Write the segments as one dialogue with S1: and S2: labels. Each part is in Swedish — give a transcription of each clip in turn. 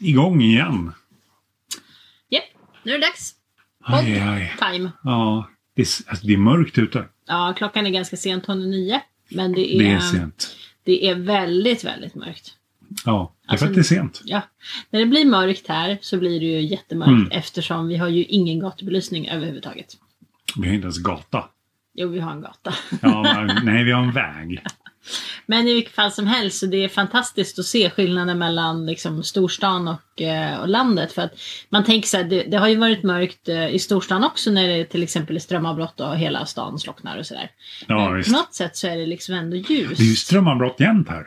S1: igång igen.
S2: Japp, nu är det dags.
S1: Aj, aj.
S2: Time.
S1: Ja, det, är- alltså, det är mörkt ute.
S2: Ja, klockan är ganska sent, hon är nio. Men det är,
S1: Det är sent.
S2: det är väldigt, väldigt mörkt.
S1: Ja, det är
S2: Alltså,
S1: för att det är sent.
S2: Ja. När det blir mörkt här så blir det ju jättemörkt
S1: Mm.
S2: eftersom vi har ju ingen gatubelysning överhuvudtaget.
S1: Vi har inte ens gata.
S2: Jo, vi har en gata.
S1: Ja, men, nej, vi har en väg.
S2: Men i vilket fall som helst så det är fantastiskt att se skillnaden mellan liksom, storstan och, eh, och landet. För att man tänker så här, det, det har ju varit mörkt eh, i storstan också när det till exempel är strömavbrott och hela stan slocknar och sådär.
S1: Ja,
S2: Men
S1: visst.
S2: På något sätt så är det liksom ändå ljus.
S1: Det är ju strömavbrott jämt här.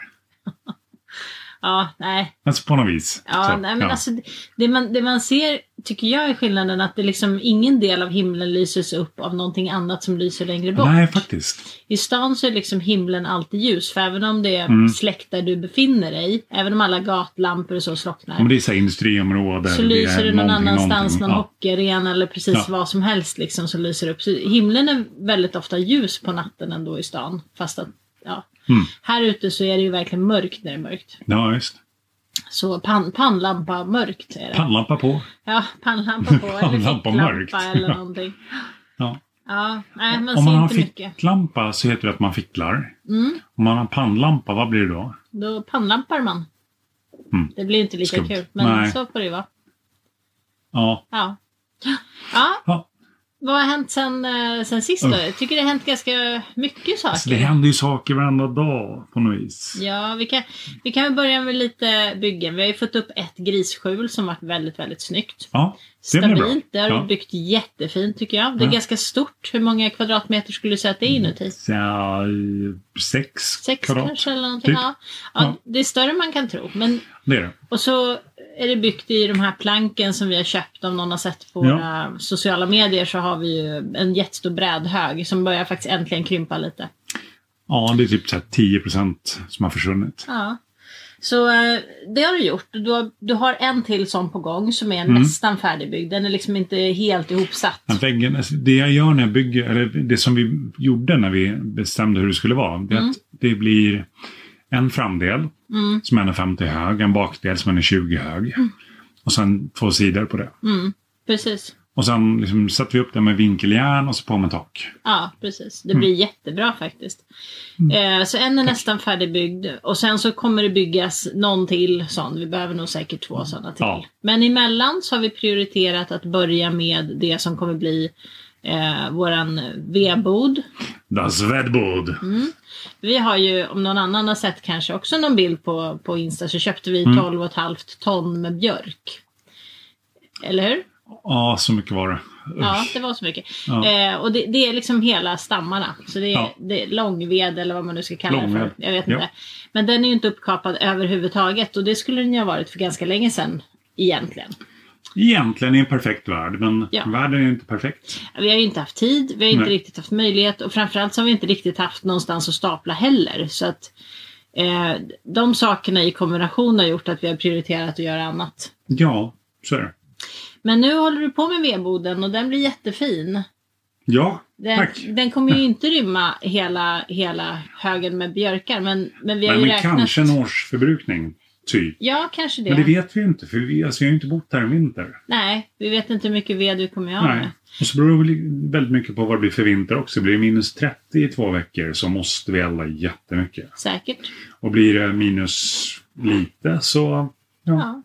S2: Ja, nej.
S1: Alltså på något vis.
S2: Ja,
S1: Så,
S2: nej men Alltså, det- det, man, det man ser tycker jag är skillnaden att det liksom ingen del av himlen lyses upp av någonting annat som lyser längre bort.
S1: Nej, faktiskt.
S2: I stan så är liksom himlen alltid ljus, för även om det är
S1: Mm.
S2: släkt där du befinner dig, även om alla gatlampor och så slocknar,
S1: Om det är så här industriområden.
S2: så lyser det någon
S1: någonting,
S2: annanstans,
S1: någonting.
S2: någon
S1: ja.
S2: hockeyarena eller precis
S1: Ja.
S2: vad som helst liksom som lyser upp. Så himlen är väldigt ofta ljus på natten ändå i stan, fast att Ja.
S1: Mm.
S2: Här ute så är det ju verkligen mörkt när det är mörkt.
S1: Ja, just.
S2: Så pan, pannlampa mörkt är det.
S1: Pannlampa på.
S2: ja, pannlampa på eller
S1: Pannlampa mörkt.
S2: ficklampa eller någonting.
S1: Ja.
S2: Ja, nej man
S1: Om man
S2: ser
S1: har
S2: inte mycket.
S1: ficklampa så heter det att man ficklar.
S2: Mm,
S1: Om man har pannlampa, vad blir det då?
S2: då pannlampar man.
S1: Mm.
S2: Det blir inte lika
S1: Skumt.
S2: kul, men
S1: Nej.
S2: så får det ju vara.
S1: Ja.
S2: Ja. ja,
S1: ja.
S2: vad har hänt sen, eh, sen sist då? Jag tycker det har hänt ganska mycket saker.
S1: Alltså, det händer ju saker varenda dag på något vis.
S2: Ja, vi kan, vi kan väl börja med lite byggen. Vi har ju fått upp ett grisskjul som varit väldigt, väldigt snyggt.
S1: Ja, det blir bra.
S2: Stabilt, det har
S1: Ja.
S2: du byggt jättefint tycker jag. Det är
S1: Ja. Mm.
S2: ganska stort. Hur många kvadratmeter skulle du säga att det är inuti?
S1: Så, ja, sex,
S2: Sex
S1: kvadrat.
S2: kanske eller någonting?
S1: typ.
S2: Ja.
S1: Ja.
S2: Ja, det är större än man kan tro. Men,
S1: Det är det.
S2: och så är det byggt i de här planken som vi har köpt. Om någon har sett på
S1: Ja.
S2: våra sociala medier så har vi ju en jättestor brädhög som börjar faktiskt äntligen krympa lite.
S1: Ja, det är typ så här 10 som har försvunnit.
S2: Ja. Så eh, det har du gjort. Du har, du har en till sån på gång som är
S1: Mm.
S2: nästan färdigbyggd. Den är liksom inte helt ihopsatt.
S1: Men Väggen, alltså det jag gör när jag bygger, eller det som vi gjorde när vi bestämde hur det skulle vara, det är att det blir en framdel
S2: Mm.
S1: som är 50 hög, en bakdel som är 20 hög och sen två sidor på det.
S2: Mm. Precis.
S1: Och sen liksom sätter vi upp det med vinkeljärn och så på med tak.
S2: Ja, precis. Det blir jättebra faktiskt. Eh, så en är nästan färdigbyggd och sen så kommer det byggas någon till sån. Vi behöver nog säkert två sådana till.
S1: Ja.
S2: Men emellan så har vi prioriterat att börja med det som kommer bli eh, våran vedbod.
S1: Das Vedbod!
S2: Mm. Vi har ju, om någon annan har sett kanske också någon bild på, på Insta, så köpte vi 12,5 ton med björk. Eller hur?
S1: Ja, så mycket var det. Usch.
S2: Ja, det var så mycket.
S1: Ja.
S2: Eh, och det, det är liksom hela stammarna. Så det är,
S1: Ja.
S2: det är långved eller vad man nu ska kalla det
S1: Långved.
S2: för. Jag vet
S1: Ja.
S2: inte. Men den är ju inte uppkapad överhuvudtaget och det skulle den ju ha varit för ganska länge sedan egentligen.
S1: Egentligen i en perfekt värld, men
S2: Ja.
S1: världen är ju inte perfekt.
S2: Vi har ju inte haft tid, vi har inte
S1: Nej.
S2: riktigt haft möjlighet och framförallt så har vi inte riktigt haft någonstans att stapla heller. Så att eh, de sakerna i kombination har gjort att vi har prioriterat att göra annat.
S1: Ja, så är det.
S2: Men nu håller du på med vedboden och den blir jättefin.
S1: Ja,
S2: Den,
S1: tack.
S2: den kommer ju inte rymma hela, hela högen med björkar men, men vi har
S1: Nej, men
S2: ju räknat.
S1: kanske en årsförbrukning, typ.
S2: Ja, kanske det.
S1: Men det vet vi ju inte, för vi, alltså, vi har ju inte bott här en vinter.
S2: Nej, vi vet inte hur mycket ved vi kommer att ha
S1: Nej.
S2: med.
S1: Och så beror det väl väldigt mycket på vad det blir för vinter också. Blir det minus 30 i två veckor så måste vi elda jättemycket.
S2: Säkert.
S1: Och blir det minus lite så... Ja.
S2: Ja.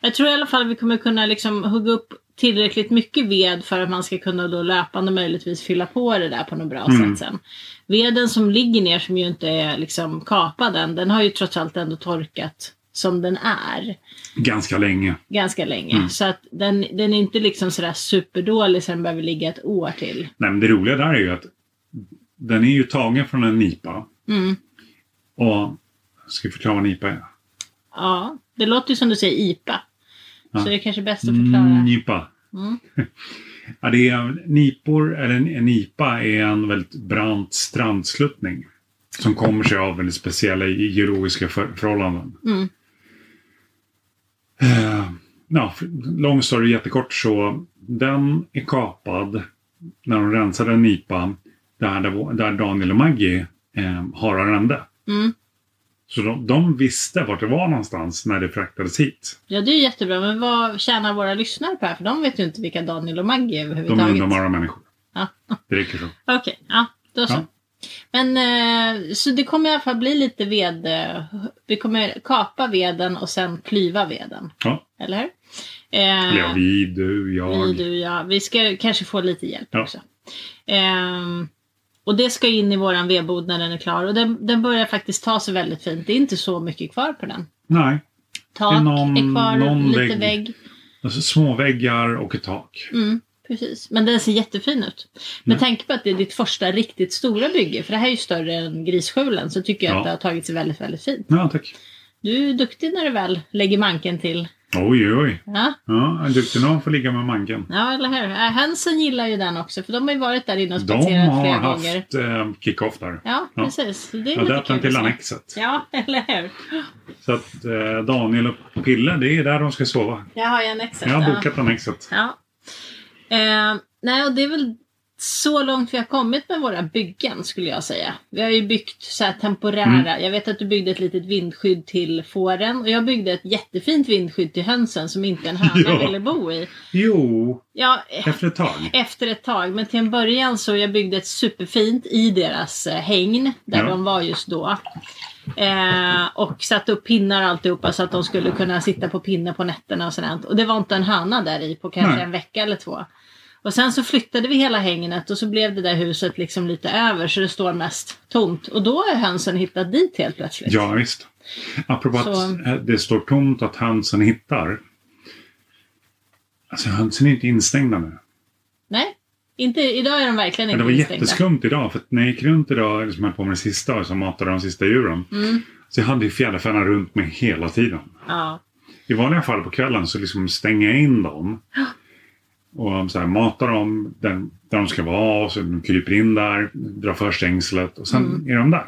S2: Jag tror i alla fall vi kommer kunna liksom hugga upp tillräckligt mycket ved för att man ska kunna då löpande möjligtvis fylla på det där på något bra
S1: Mm.
S2: sätt sen. Veden som ligger ner som ju inte är liksom kapad än, den har ju trots allt ändå torkat som den är
S1: Ganska länge.
S2: ganska länge.
S1: Mm.
S2: Så att den, den är inte liksom sådär superdålig så den behöver ligga ett år till.
S1: Nej, men det roliga där är ju att den är ju tagen från en nipa.
S2: Mm.
S1: Och... Ska jag förklara vad nipa är?
S2: Ja, det låter ju som du säger IPA.
S1: Ja. Mm.
S2: Så det är kanske bäst att förklara.
S1: Nipa.
S2: Mm.
S1: Ja, det är nipor, eller en, en nipa är en väldigt brant strandsluttning. Som kommer sig av väldigt speciella geologiska för, förhållanden.
S2: Mm.
S1: Eh, ja, för- lång story jättekort så. Den är kapad när de rensade en nipa där, det var- där Daniel och Maggie eh, har arrende.
S2: Mm.
S1: Så de, de visste vart det var någonstans när det fraktades hit.
S2: Ja, det är ju jättebra. Men vad tjänar våra lyssnare på det här? För de vet ju inte vilka Daniel och Maggie är
S1: De
S2: överhuvudtaget.
S1: är underbara människor.
S2: Ja.
S1: Det räcker så.
S2: Okej, ja, då så.
S1: Ja.
S2: Men eh, så det kommer i alla fall bli lite ved. eh, Vi kommer kapa veden och sen klyva veden,
S1: Ja.
S2: eller hur?
S1: Eller ja,
S2: Eh,
S1: vi, du,
S2: vi,
S1: jag.
S2: du, jag. Vi ska kanske få lite hjälp
S1: Ja.
S2: också. Ehm, och det ska in i våran vedbod när den är klar. Och den, den börjar faktiskt ta sig väldigt fint. Det är inte så mycket kvar på den.
S1: Nej.
S2: Tak
S1: Det
S2: är,
S1: är någon-
S2: kvar,
S1: någon
S2: lite
S1: vägg.
S2: vägg.
S1: Alltså, små väggar och ett tak.
S2: Mm, precis. Men den ser jättefin ut. Men
S1: Mm.
S2: tänk på att det är ditt första riktigt stora bygge, för det här är ju större än Grisskjulen, så tycker jag
S1: Ja.
S2: att det har tagit sig väldigt, väldigt fint.
S1: Ja, tack.
S2: Du är duktig när du väl lägger manken till.
S1: Oj, oj.
S2: Ja,
S1: Ja, en duktig någon får ligga med manken.
S2: ja eller hur? Äh, hönsen gillar ju den också, för de har ju varit där inne och
S1: De
S2: spatserat
S1: har
S2: flera gånger.
S1: haft eh, kick-off där.
S2: Ja,
S1: Ja.
S2: precis. Så Det är
S1: Jag
S2: lite
S1: döpte den
S2: kul
S1: till
S2: att se.
S1: Annexet.
S2: Ja, eller hur?
S1: Så att eh, Daniel och Pille, det är där de ska sova.
S2: Jag har ju annexet.
S1: Jag har
S2: ja.
S1: bokat Annexet.
S2: Ja. Eh, nej, och det är väl så långt vi har kommit med våra byggen skulle jag säga. Vi har ju byggt så här temporära.
S1: Mm.
S2: Jag vet att du byggde ett litet vindskydd till fåren och jag byggde ett jättefint vindskydd till hönsen som inte en höna
S1: Ja.
S2: ville bo i.
S1: Jo,
S2: Ja, eh,
S1: efter ett tag.
S2: efter ett tag, men till en början så jag byggde ett superfint i deras eh, hägn där
S1: Ja.
S2: de var just då. Eh, och satte upp pinnar och alltihopa så att de skulle kunna sitta på pinne på nätterna och sådant. Och det var inte en höna där i på kanske
S1: Nej.
S2: en vecka eller två. Och sen så flyttade vi hela hägnet och så blev det där huset liksom lite över så det står mest tomt. Och då har hönsen hittat dit helt plötsligt.
S1: Ja, visst. Apropå
S2: Så-
S1: att eh, det står tomt att hönsen hittar. Alltså hönsen är inte instängda nu.
S2: Nej, inte, idag är de verkligen
S1: Men
S2: inte
S1: det var
S2: instängda.
S1: jätteskumt idag. För att när jag gick runt idag, som höll på med det sista, som matade de sista djuren.
S2: Mm.
S1: Så jag hade ju fjäderfäna runt mig hela tiden.
S2: Ja.
S1: I vanliga fall på kvällen så liksom stänger jag in dem. Och så här, matar dem där, där de ska vara. Och så de kryper in där, drar för stängslet och sen
S2: Mm.
S1: är de där.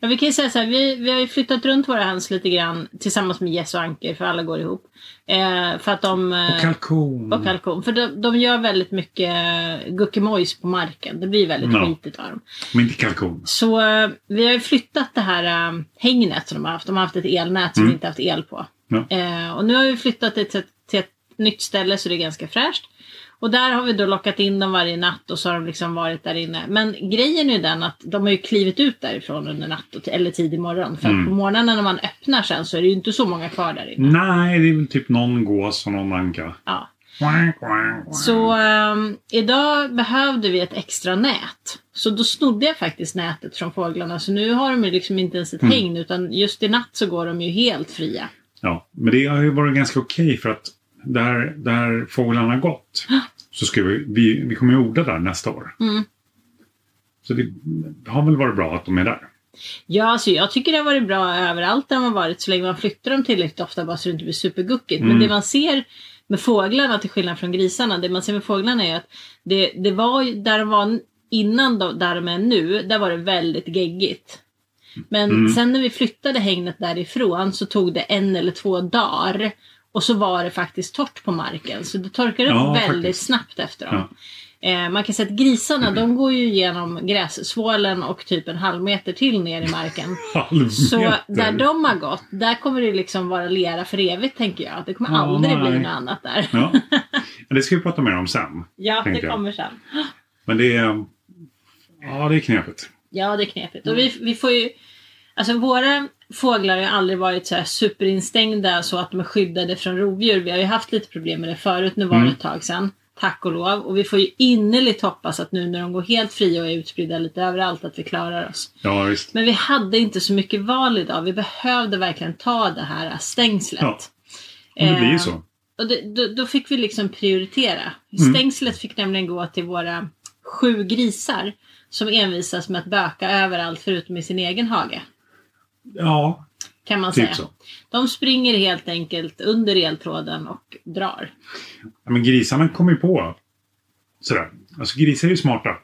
S2: Ja, vi kan ju säga så här, vi, vi har ju flyttat runt våra höns lite grann tillsammans med Jess och Anker, för alla går ihop. Eh, för att de... eh,
S1: Och kalkon.
S2: och kalkon. För de, de gör väldigt mycket guckemojs på marken. Det blir väldigt
S1: Ja.
S2: skitigt av dem.
S1: Men inte kalkon.
S2: Så eh, vi har ju flyttat det här äh, hängnet som de har haft. De har haft ett elnät som
S1: Mm.
S2: vi inte haft el på.
S1: Ja.
S2: Eh, och nu har vi flyttat det till, ett- till ett nytt ställe så det är ganska fräscht. Och där har vi då lockat in dem varje natt och så har de liksom varit där inne. Men grejen är ju den att de har ju klivit ut därifrån under natt och, eller tidig morgon. För
S1: Mm.
S2: att på morgonen när man öppnar sen så är det ju inte så många kvar där inne.
S1: Nej, det är väl typ någon gås och någon anka.
S2: Ja.
S1: Quack, quack, quack.
S2: Så ehm, idag behövde vi ett extra nät. Så då snodde jag faktiskt nätet från fåglarna. Så nu har de ju liksom inte ens ett
S1: Mm.
S2: hägn utan just i natt så går de ju helt fria.
S1: Ja, men det har ju varit ganska okej för att där, där fåglarna har gått så ska vi, vi, vi kommer ju odla där nästa år.
S2: Mm.
S1: Så det har väl varit bra att de är där.
S2: Ja, alltså jag tycker det har varit bra överallt där de har varit så länge man flyttar dem tillräckligt ofta bara så det inte blir superguckigt.
S1: Mm.
S2: Men det man ser med fåglarna till skillnad från grisarna, det man ser med fåglarna är att det, det var ju där de var innan de, där de är nu, där var det väldigt geggigt. Men
S1: Mm.
S2: sen när vi flyttade hägnet därifrån så tog det en eller två dagar och så var det faktiskt torrt på marken. Så det torkade upp
S1: Ja,
S2: väldigt
S1: faktiskt.
S2: snabbt efter dem. Eh, man kan säga att
S1: Mm.
S2: grisarna de går ju genom grässvålen och typ en halv meter till ner i marken. Så
S1: Halvmeter!
S2: där de har gått, där kommer det liksom vara lera för evigt tänker jag. Det kommer
S1: Ja,
S2: aldrig bli
S1: nej.
S2: något annat där.
S1: Ja. Men det ska vi prata mer om sen.
S2: Ja, det
S1: Tänkte jag.
S2: kommer sen.
S1: Men det är... Ja, det är knepigt.
S2: Ja, det är knepigt. Och
S1: Mm.
S2: vi, vi får ju... Alltså våra fåglar har ju aldrig varit så här superinstängda så att de är skyddade från rovdjur. Vi har ju haft lite problem med det förut. Nu var det
S1: Mm.
S2: ett tag sedan. Tack och lov. Och vi får ju innerligt hoppas att nu när de går helt fria och är utspridda lite överallt att vi klarar oss.
S1: Ja, visst.
S2: Men vi hade inte så mycket val idag. Vi behövde verkligen ta det här stängslet.
S1: Ja. Men det blir ju
S2: Eh,
S1: så.
S2: Och det, då, då fick vi liksom prioritera.
S1: Mm.
S2: Stängslet fick nämligen gå till våra sju grisar som envisas med att böka överallt förutom i sin egen hage.
S1: Ja,
S2: Kan man säga.
S1: typ så.
S2: De springer helt enkelt under eltråden och drar.
S1: Ja, men grisarna kommer ju på sådär. Alltså grisar är ju smarta.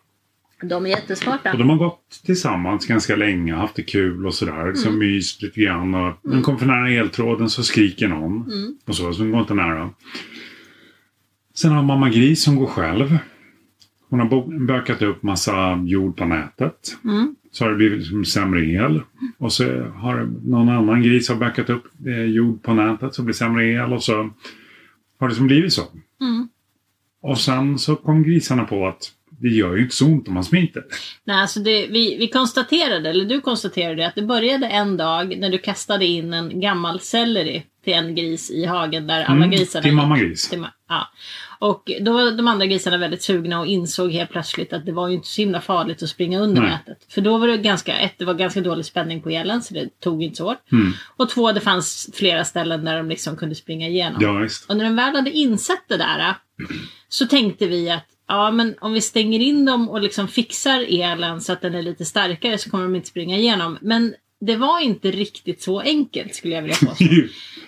S2: De är jättesmarta.
S1: Och de har gått tillsammans ganska länge, haft det kul och sådär. Liksom myst lite grann. Och De kom för nära eltråden så skriker någon.
S2: Mm.
S1: Och så, så de går inte nära. Sen har mamma Gris som går själv. Hon har bo- bökat upp massa jord på nätet.
S2: Mm.
S1: Så har det blivit liksom sämre el. Och så har någon annan gris har backat upp eh, jord på nätet så blir det sämre el och så har det som blivit så.
S2: Mm.
S1: Och sen så kom grisarna på att det gör ju inte så ont om man smiter.
S2: Nej, alltså det, vi, vi konstaterade, eller du konstaterade, att det började en dag när du kastade in en gammal selleri till en gris i hagen där alla
S1: Mm,
S2: grisarna...
S1: till mamma gris.
S2: till ma- ja. Och då var de andra grisarna väldigt sugna och insåg helt plötsligt att det var ju inte så himla farligt att springa under
S1: Nej.
S2: nätet. För då var det ganska, ett, det var ganska dålig spänning på elen så det tog inte så hårt.
S1: Mm.
S2: Och två, det fanns flera ställen där de liksom kunde springa igenom.
S1: Ja, visst.
S2: Och när de väl hade insett det där äh, så tänkte vi att ja, men om vi stänger in dem och liksom fixar elen så att den är lite starkare så kommer de inte springa igenom. Men det var inte riktigt så enkelt skulle jag vilja påstå.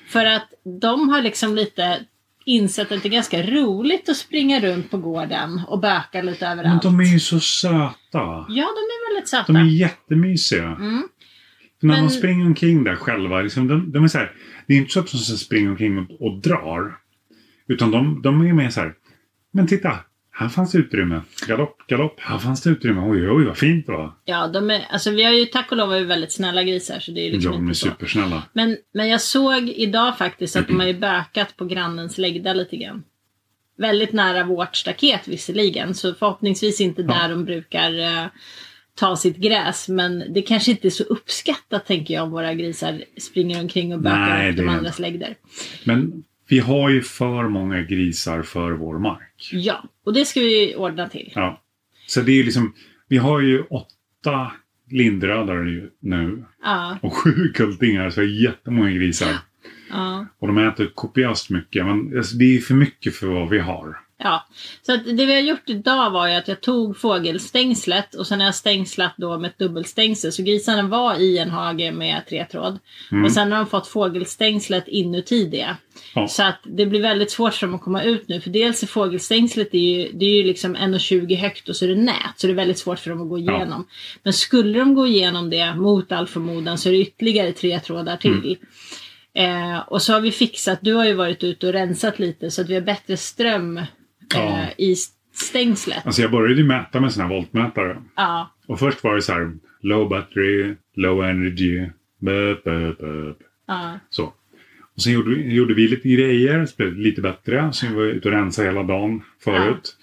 S2: För att de har liksom lite insett att det är ganska roligt att springa runt på gården och böka lite
S1: Men
S2: överallt.
S1: de är ju så söta.
S2: Ja, de är väldigt söta.
S1: De är jättemysiga.
S2: Mm.
S1: När
S2: Men-
S1: de springer omkring där själva, liksom, de, de är så här, det är inte så att de springer omkring och, och drar. Utan de, de är mer så här, men titta, här fanns det utrymme. Galopp, galopp, här fanns det utrymme. Oj, oj, vad fint det var.
S2: Ja, de är, alltså vi har ju tack och lov är vi väldigt snälla grisar så det är ju liksom
S1: De är
S2: inte så.
S1: supersnälla.
S2: Men, men jag såg idag faktiskt att de har ju bökat på grannens lägda lite grann. Väldigt nära vårt staket visserligen, så förhoppningsvis inte
S1: Ja.
S2: där de brukar eh, ta sitt gräs. Men det kanske inte är så uppskattat tänker jag om våra grisar springer omkring och bökar
S1: Nej,
S2: upp
S1: det
S2: de
S1: är
S2: andras lägder.
S1: Men vi har ju för många grisar för vår mark.
S2: Ja, och det ska vi ju ordna till.
S1: Ja. Så det är ju liksom, vi har ju åtta lindrödare ju nu
S2: Ja,
S1: och sju kultingar, så jättemånga grisar.
S2: ja,
S1: Och de äter kopiöst mycket, men alltså, det är för mycket för vad vi har.
S2: ja. Så att det vi har gjort idag var ju att jag tog fågelstängslet och sen har jag stängslat då med ett dubbelstängsel. Så grisarna var i en hage med tre tråd.
S1: Mm.
S2: Och sen har de fått fågelstängslet inuti det.
S1: Ja.
S2: Så att det blir väldigt svårt för dem att komma ut nu. För dels är fågelstängslet det är ju, det är ju liksom 1,20 högt och så är det nät. Så det är väldigt svårt för dem att gå
S1: Ja.
S2: igenom. Men skulle de gå igenom det mot all förmodan så är det ytterligare tre trådar till.
S1: Mm.
S2: Eh, och så har vi fixat, du har ju varit ute och rensat lite så att vi har bättre ström eh,
S1: Ja.
S2: i stängslet.
S1: Alltså jag började ju mäta med såna här voltmätare.
S2: Ja,
S1: Och först var det så här low battery, low energy, bup, bup, bup.
S2: ja,
S1: Så. Och sen gjorde, vi- gjorde vi lite grejer, så blev det lite bättre. Sen var jag ute och rensade hela dagen förut.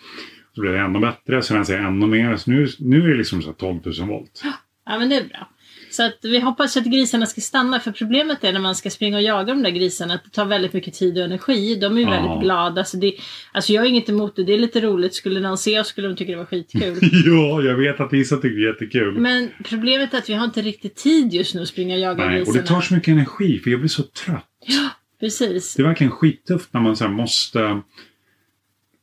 S1: Så blev det ännu bättre, sen rensade jag ännu mer. Så nu, nu är det liksom så här 12 000 volt.
S2: ja, men det är bra. Så att vi hoppas att grisarna ska stanna, för problemet är när man ska springa och jaga de där grisarna att det tar väldigt mycket tid och energi. De är ju
S1: Ja.
S2: väldigt glada. Så det, alltså jag har inget emot det, det är lite roligt. Skulle någon se oss skulle de tycka det var skitkul.
S1: ja, jag vet att Isa tycker det är jättekul.
S2: Men problemet är att vi har inte riktigt tid just nu att springa och jaga
S1: Nej, och
S2: grisarna.
S1: det tar så mycket energi, för jag blir så trött.
S2: Precis.
S1: Det är verkligen skittufft när man så här måste...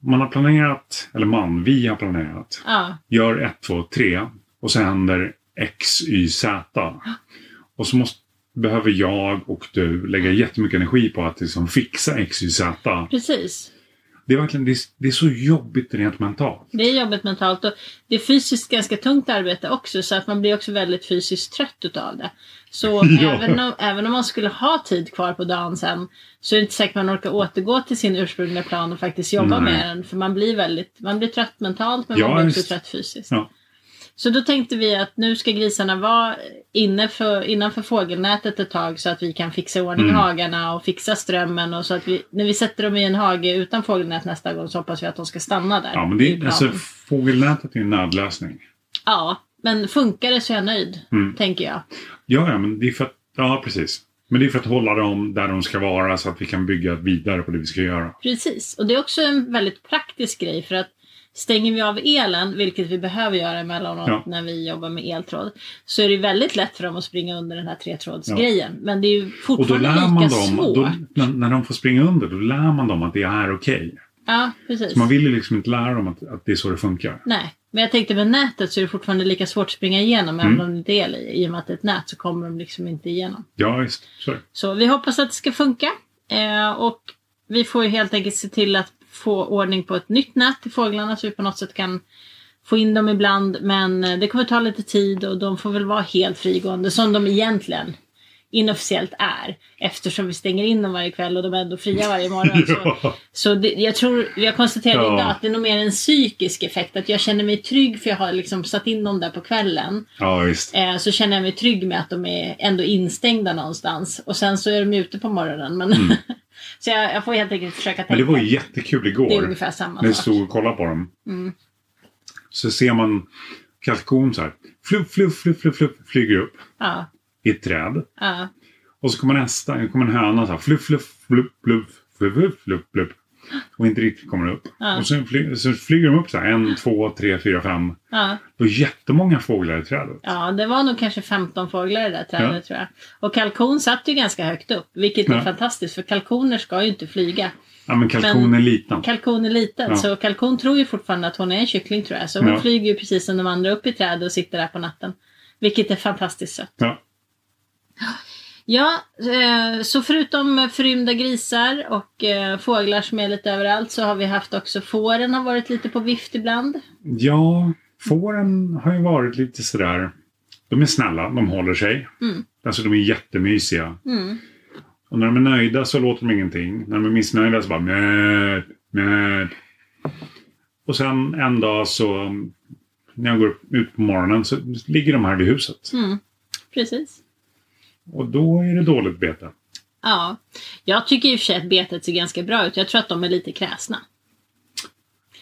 S1: Man har planerat, eller man, vi har planerat.
S2: Ja,
S1: Gör 1, 2, 3 och så händer X, Y, Z. Och så måste, behöver jag och du lägga jättemycket energi på att liksom fixa X, Y, Z.
S2: precis.
S1: Det är verkligen det är, det är så jobbigt rent mentalt.
S2: Det är jobbigt mentalt och det är fysiskt ganska tungt arbete också så att man blir också väldigt fysiskt trött utav det. Så
S1: Ja.
S2: även, om, även om man skulle ha tid kvar på dagen sen så är det inte säkert man orkar återgå till sin ursprungliga plan och faktiskt jobba
S1: Nej.
S2: med den. För man blir, väldigt, man blir trött mentalt men
S1: Ja,
S2: man blir också
S1: visst.
S2: trött fysiskt.
S1: Ja.
S2: Så då tänkte vi att nu ska grisarna vara inne för, innanför fågelnätet ett tag så att vi kan fixa i ordning
S1: Mm.
S2: hagarna och fixa strömmen och så att vi, när vi sätter dem i en hage utan fågelnät nästa gång så hoppas vi att de ska stanna där.
S1: Ja, men
S2: i
S1: det,
S2: planen.
S1: alltså, fågelnätet är en nödlösning.
S2: Ja, men funkar det så är jag nöjd,
S1: Mm.
S2: tänker jag.
S1: Ja, ja, men det är för att... Ja, precis. Men det är för att hålla dem där de ska vara så att vi kan bygga vidare på det vi ska göra.
S2: Precis, och det är också en väldigt praktisk grej för att stänger vi av elen, vilket vi behöver göra emellanåt
S1: Ja.
S2: när vi jobbar med eltråd, så är det väldigt lätt för dem att springa under den här tretrådsgrejen. Men det är ju
S1: Och då
S2: fortfarande
S1: lär man
S2: lika
S1: dem,
S2: svårt.
S1: då, när, när de får springa under, då lär man dem att det är okej.
S2: Ja, precis.
S1: Så man vill ju liksom inte lära dem att, att det är så det funkar.
S2: Nej, men jag tänkte med nätet så är det fortfarande lika svårt att springa igenom även
S1: Mm.
S2: om det inte är el i. I och med att det är ett nät så kommer de liksom inte igenom.
S1: Ja, visst. Så är det.
S2: Så vi hoppas att det ska funka. Eh, och vi får ju helt enkelt se till att få ordning på ett nytt nät till fåglarna så vi på något sätt kan få in dem ibland. Men eh, det kommer ta lite tid och de får väl vara helt frigående som de egentligen inofficiellt är. Eftersom vi stänger in dem varje kväll och de är ändå fria varje morgon. Så,
S1: Ja.
S2: så det, jag tror, jag konstaterade
S1: Ja.
S2: idag att det är nog mer en psykisk effekt. Att jag känner mig trygg för jag har liksom satt in dem där på kvällen.
S1: ja, visst.
S2: Eh, så känner jag mig trygg med att de är ändå instängda någonstans. Och sen så är de ute på morgonen. Men så jag, jag får helt enkelt försöka tänka.
S1: Mm. Men det var ju jättekul
S2: Det är
S1: igår.
S2: ungefär samma
S1: När jag
S2: sak.
S1: stod och kollade på dem.
S2: Mm.
S1: Så ser man kalkon så här. Fluff, fluff, fluff, fluff, fluff, flyger upp
S2: Ja,
S1: i ett träd.
S2: ja.
S1: Och så kommer nästa, kommer en höna så här. Fluff, fluff, fluff, fluff, fluff, fluff, fluff, fluff. Och inte riktigt kommer upp.
S2: Ja.
S1: Och sen fly, så flyger de upp så här. En, två, tre, fyra, fem.
S2: ja.
S1: Det var jättemånga fåglar i trädet.
S2: Ja, det var nog kanske 15 fåglar i det där trädet
S1: Ja.
S2: tror jag. Och kalkon satt ju ganska högt upp, vilket är
S1: Ja.
S2: fantastiskt för kalkoner ska ju inte flyga.
S1: Ja, men kalkon är liten.
S2: Kalkon är liten,
S1: Ja.
S2: så kalkon tror ju fortfarande att hon är en kyckling tror jag. Så hon
S1: Ja.
S2: flyger ju precis som de andra upp i trädet och sitter där på natten. Vilket är fantastiskt sött.
S1: Ja.
S2: Ja, eh, så förutom förrymda grisar och eh, fåglar som är lite överallt så har vi haft också fåren har varit lite på vift ibland.
S1: ja, fåren har ju varit lite sådär. De är snälla, de håller sig.
S2: Mm.
S1: Alltså de är jättemysiga.
S2: Mm.
S1: Och när de är nöjda så låter de ingenting. När de är missnöjda så bara mjöp, mjöp. Och sen en dag så um, när jag går upp- ut på morgonen så ligger de här vid huset.
S2: Mm. Precis.
S1: Och då är det dåligt bete.
S2: Ja, jag tycker i och för sig att betet ser ganska bra ut. Jag tror att de är lite kräsna.
S1: Så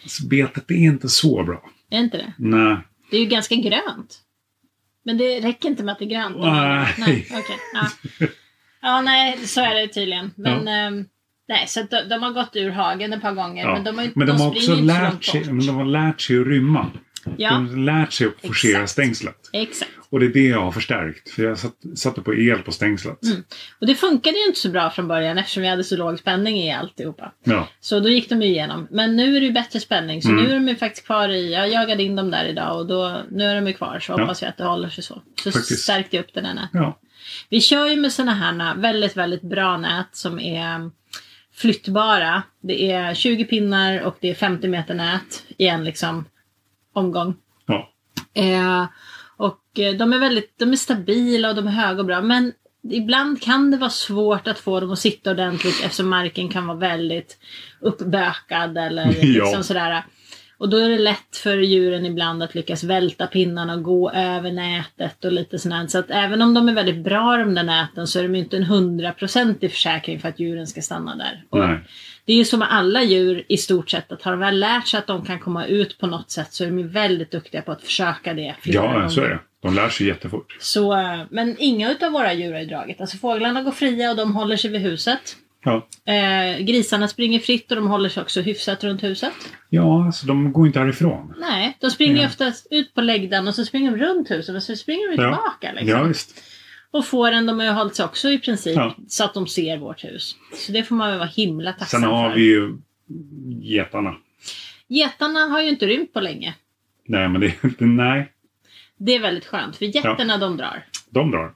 S1: Alltså, betet är inte så bra.
S2: Är det inte det?
S1: Nej.
S2: Det är ju ganska grönt. Men det räcker inte med att det är grönt.
S1: Nej.
S2: nej okej. ja. ja, nej, så är det tydligen. Men, ehm, nej, så att de, de har gått ur hagen ett par gånger.
S1: Ja.
S2: Men de har, ju-
S1: Men de har
S2: springer
S1: också
S2: ju inte så långt
S1: lärt sig,
S2: bort.
S1: men de har lärt sig att rymma.
S2: Ja,
S1: De har lärt sig att forcera
S2: Exakt.
S1: stängslet.
S2: exakt.
S1: Och det är det jag har förstärkt. För jag satt, satte på el på stängslet.
S2: Mm. Och det funkade ju inte så bra från början eftersom vi hade så låg spänning i alltihopa.
S1: Ja.
S2: Så då gick de ju igenom. Men nu är det ju bättre spänning. Så
S1: Mm.
S2: nu är de ju faktiskt kvar i, jag jagade in dem där idag och då, nu är de ju kvar. Så
S1: Ja.
S2: hoppas jag att det håller sig så. Så
S1: Faktiskt.
S2: stärkte jag upp den ena.
S1: ja.
S2: Vi kör ju med sådana här väldigt, väldigt bra nät som är mm, flyttbara. Det är 20 pinnar och det är 50 meter nät i en liksom omgång.
S1: Ja.
S2: Eh, och eh, de är väldigt de är stabila och de är höga och bra. Men ibland kan det vara svårt att få dem att sitta ordentligt eftersom marken kan vara väldigt uppbökad eller
S1: Ja.
S2: liksom sådär. Och då är det lätt för djuren ibland att lyckas välta pinnarna och gå över nätet och lite sådär. Så att även om de är väldigt bra de där näten så är de ju inte en hundraprocentig försäkring för att djuren ska stanna där. Och
S1: Nej.
S2: det är ju som med alla djur i stort sett att har de väl lärt sig att de kan komma ut på något sätt så är de ju väldigt duktiga på att försöka det. flera
S1: Ja, så är
S2: gånger.
S1: det. De lär sig jättefort.
S2: Så, eh, men inga utav våra djur har ju dragit. Alltså fåglarna går fria och de håller sig vid huset.
S1: Ja.
S2: Eh, grisarna springer fritt och de håller sig också hyfsat runt huset.
S1: Ja, alltså de går inte härifrån.
S2: Nej, de springer ju
S1: Ja.
S2: oftast ut på läggdan och så springer de runt huset och så springer de
S1: Ja.
S2: tillbaka. Liksom.
S1: Ja, visst.
S2: Och fåren de har ju hållit sig också i princip
S1: Ja.
S2: så att de ser vårt hus. Så det får man väl vara himla tacksam
S1: Sen har
S2: för.
S1: vi ju getarna.
S2: Getarna har ju inte rymt på länge.
S1: Nej, men det, nej,
S2: Det är väldigt skönt för getterna de drar.
S1: de drar.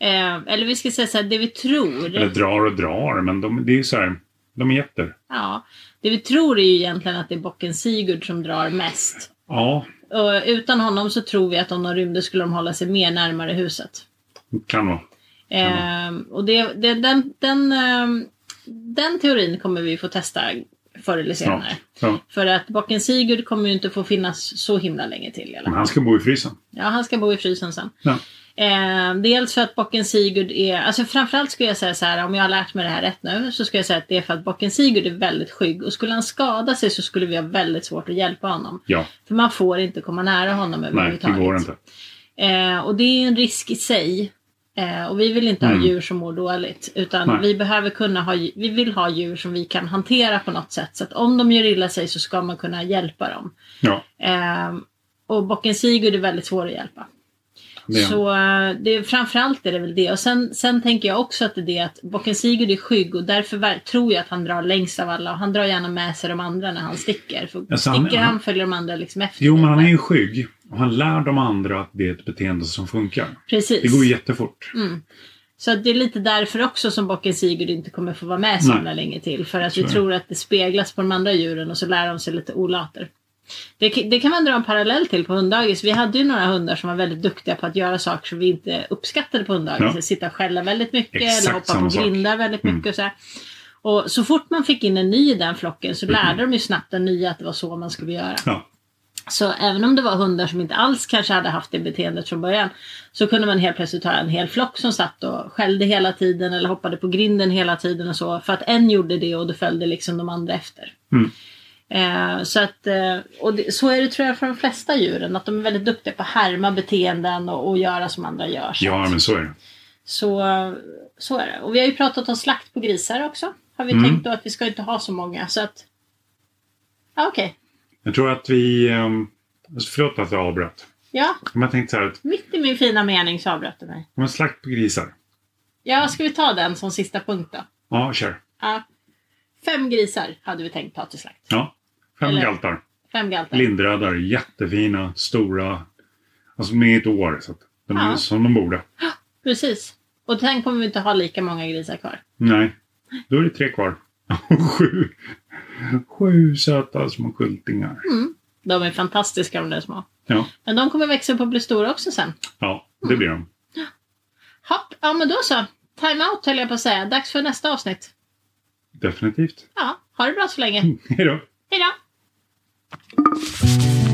S2: Eh, eller vi ska säga så här, det vi tror.
S1: Eller drar och drar, men de, det är ju så här, de är getter.
S2: Ja, det vi tror är ju egentligen att det är bocken Sigurd som drar mest.
S1: Ja,
S2: Och utan honom så tror vi att om de rymde skulle de hålla sig mer närmare huset.
S1: kan vara.
S2: Ehm, och det, det, den, den, ehm, den teorin kommer vi få testa förr eller senare.
S1: Ja.
S2: För att bocken Sigurd kommer ju inte få finnas så himla länge till. Eller?
S1: Men han ska bo i frysen.
S2: Ja, han ska bo i frysen sen.
S1: Ja.
S2: Eh, dels för att bocken Sigurd är, alltså framförallt skulle jag säga så här, om jag har lärt mig det här rätt nu, så skulle jag säga att det är för att bocken Sigurd är väldigt skygg. Och skulle han skada sig så skulle vi ha väldigt svårt att hjälpa honom.
S1: Ja,
S2: För man får inte komma nära honom
S1: nej, det
S2: överhuvudtaget.
S1: går inte.
S2: Eh, och det är en risk i sig. Eh, och vi vill inte
S1: Mm.
S2: ha djur som mår dåligt. Utan
S1: Nej.
S2: vi behöver kunna ha, dj- vi vill ha djur som vi kan hantera på något sätt. Så att om de gör illa sig så ska man kunna hjälpa dem.
S1: Ja,
S2: Eh, och bocken Sigurd är väldigt svår att hjälpa.
S1: det är
S2: Så eh, det, är- framförallt är det väl det. Och sen, sen tänker jag också att det är det att bocken Sigurd är skygg och därför ver- tror jag att han drar längst av alla. Och han drar gärna med sig de andra när han sticker. För
S1: Alltså, han-
S2: sticker han,
S1: han-
S2: följer de andra liksom efter.
S1: Jo, men han är ju skygg. Och han lär de andra att det är ett beteende som funkar.
S2: Precis.
S1: Det går ju jättefort.
S2: Mm. Så att det är lite därför också som bocken Sigurd inte kommer få vara med så
S1: Nej.
S2: himla länge till. För att
S1: Så
S2: vi
S1: är det.
S2: tror att det speglas på de andra djuren och så lär de sig lite olater. Det, det kan man dra en parallell till på hunddagis. Vi hade ju några hundar som var väldigt duktiga på att göra saker som vi inte uppskattade på hunddagis.
S1: Ja.
S2: Sitta och skälla väldigt mycket
S1: Exakt
S2: eller hoppa på
S1: samma sak. Mm.
S2: grindar väldigt mycket. Och så, här. och så fort man fick in en ny i den flocken
S1: Mm.
S2: så lärde de ju snabbt den nya att det var så man skulle göra.
S1: Ja.
S2: Så även om det var hundar som inte alls kanske hade haft det beteendet från början så kunde man helt plötsligt ha en hel flock som satt och skällde hela tiden eller hoppade på grinden hela tiden och så för att en gjorde det och då följde liksom de andra efter.
S1: Mm.
S2: Eh, så, att, eh, och det, så är det tror jag för de flesta djuren att de är väldigt duktiga på att härma beteenden och, och göra som andra gör. Så
S1: ja,
S2: att-
S1: men så är det.
S2: så, så är det. Och vi har ju pratat om slakt på grisar också. Har vi
S1: Mm.
S2: tänkt då att vi ska inte ha så många så att... Ja, okej.
S1: Jag tror att vi... ehm, Förlåt att jag avbröt.
S2: Ja,
S1: Men jag tänkte så här att
S2: mitt i min fina mening så avbröt du mig.
S1: om man slakt på grisar.
S2: Ja, ska vi ta den som sista punkt då?
S1: Ja, kör.
S2: Ja. Fem grisar hade vi tänkt ta till slakt.
S1: Ja. Fem
S2: Eller-
S1: galtar.
S2: Fem galtar.
S1: Lindrödar. Jättefina, stora. Alltså med ett år. Så att de är
S2: Ja.
S1: som de borde.
S2: Precis. Och sen kommer vi inte ha lika många grisar kvar.
S1: Nej. Då är det tre kvar. Sju. Sju söta små kultingar.
S2: De är fantastiska de där små.
S1: Ja,
S2: Men de kommer växa upp och bli stora också sen.
S1: ja det blir de.
S2: Hopp, ja men då så. Time-out höll jag på att säga. Dags för nästa avsnitt.
S1: Definitivt. Mm.
S2: Ja, ha det bra så länge.
S1: Hej då.
S2: Hej då!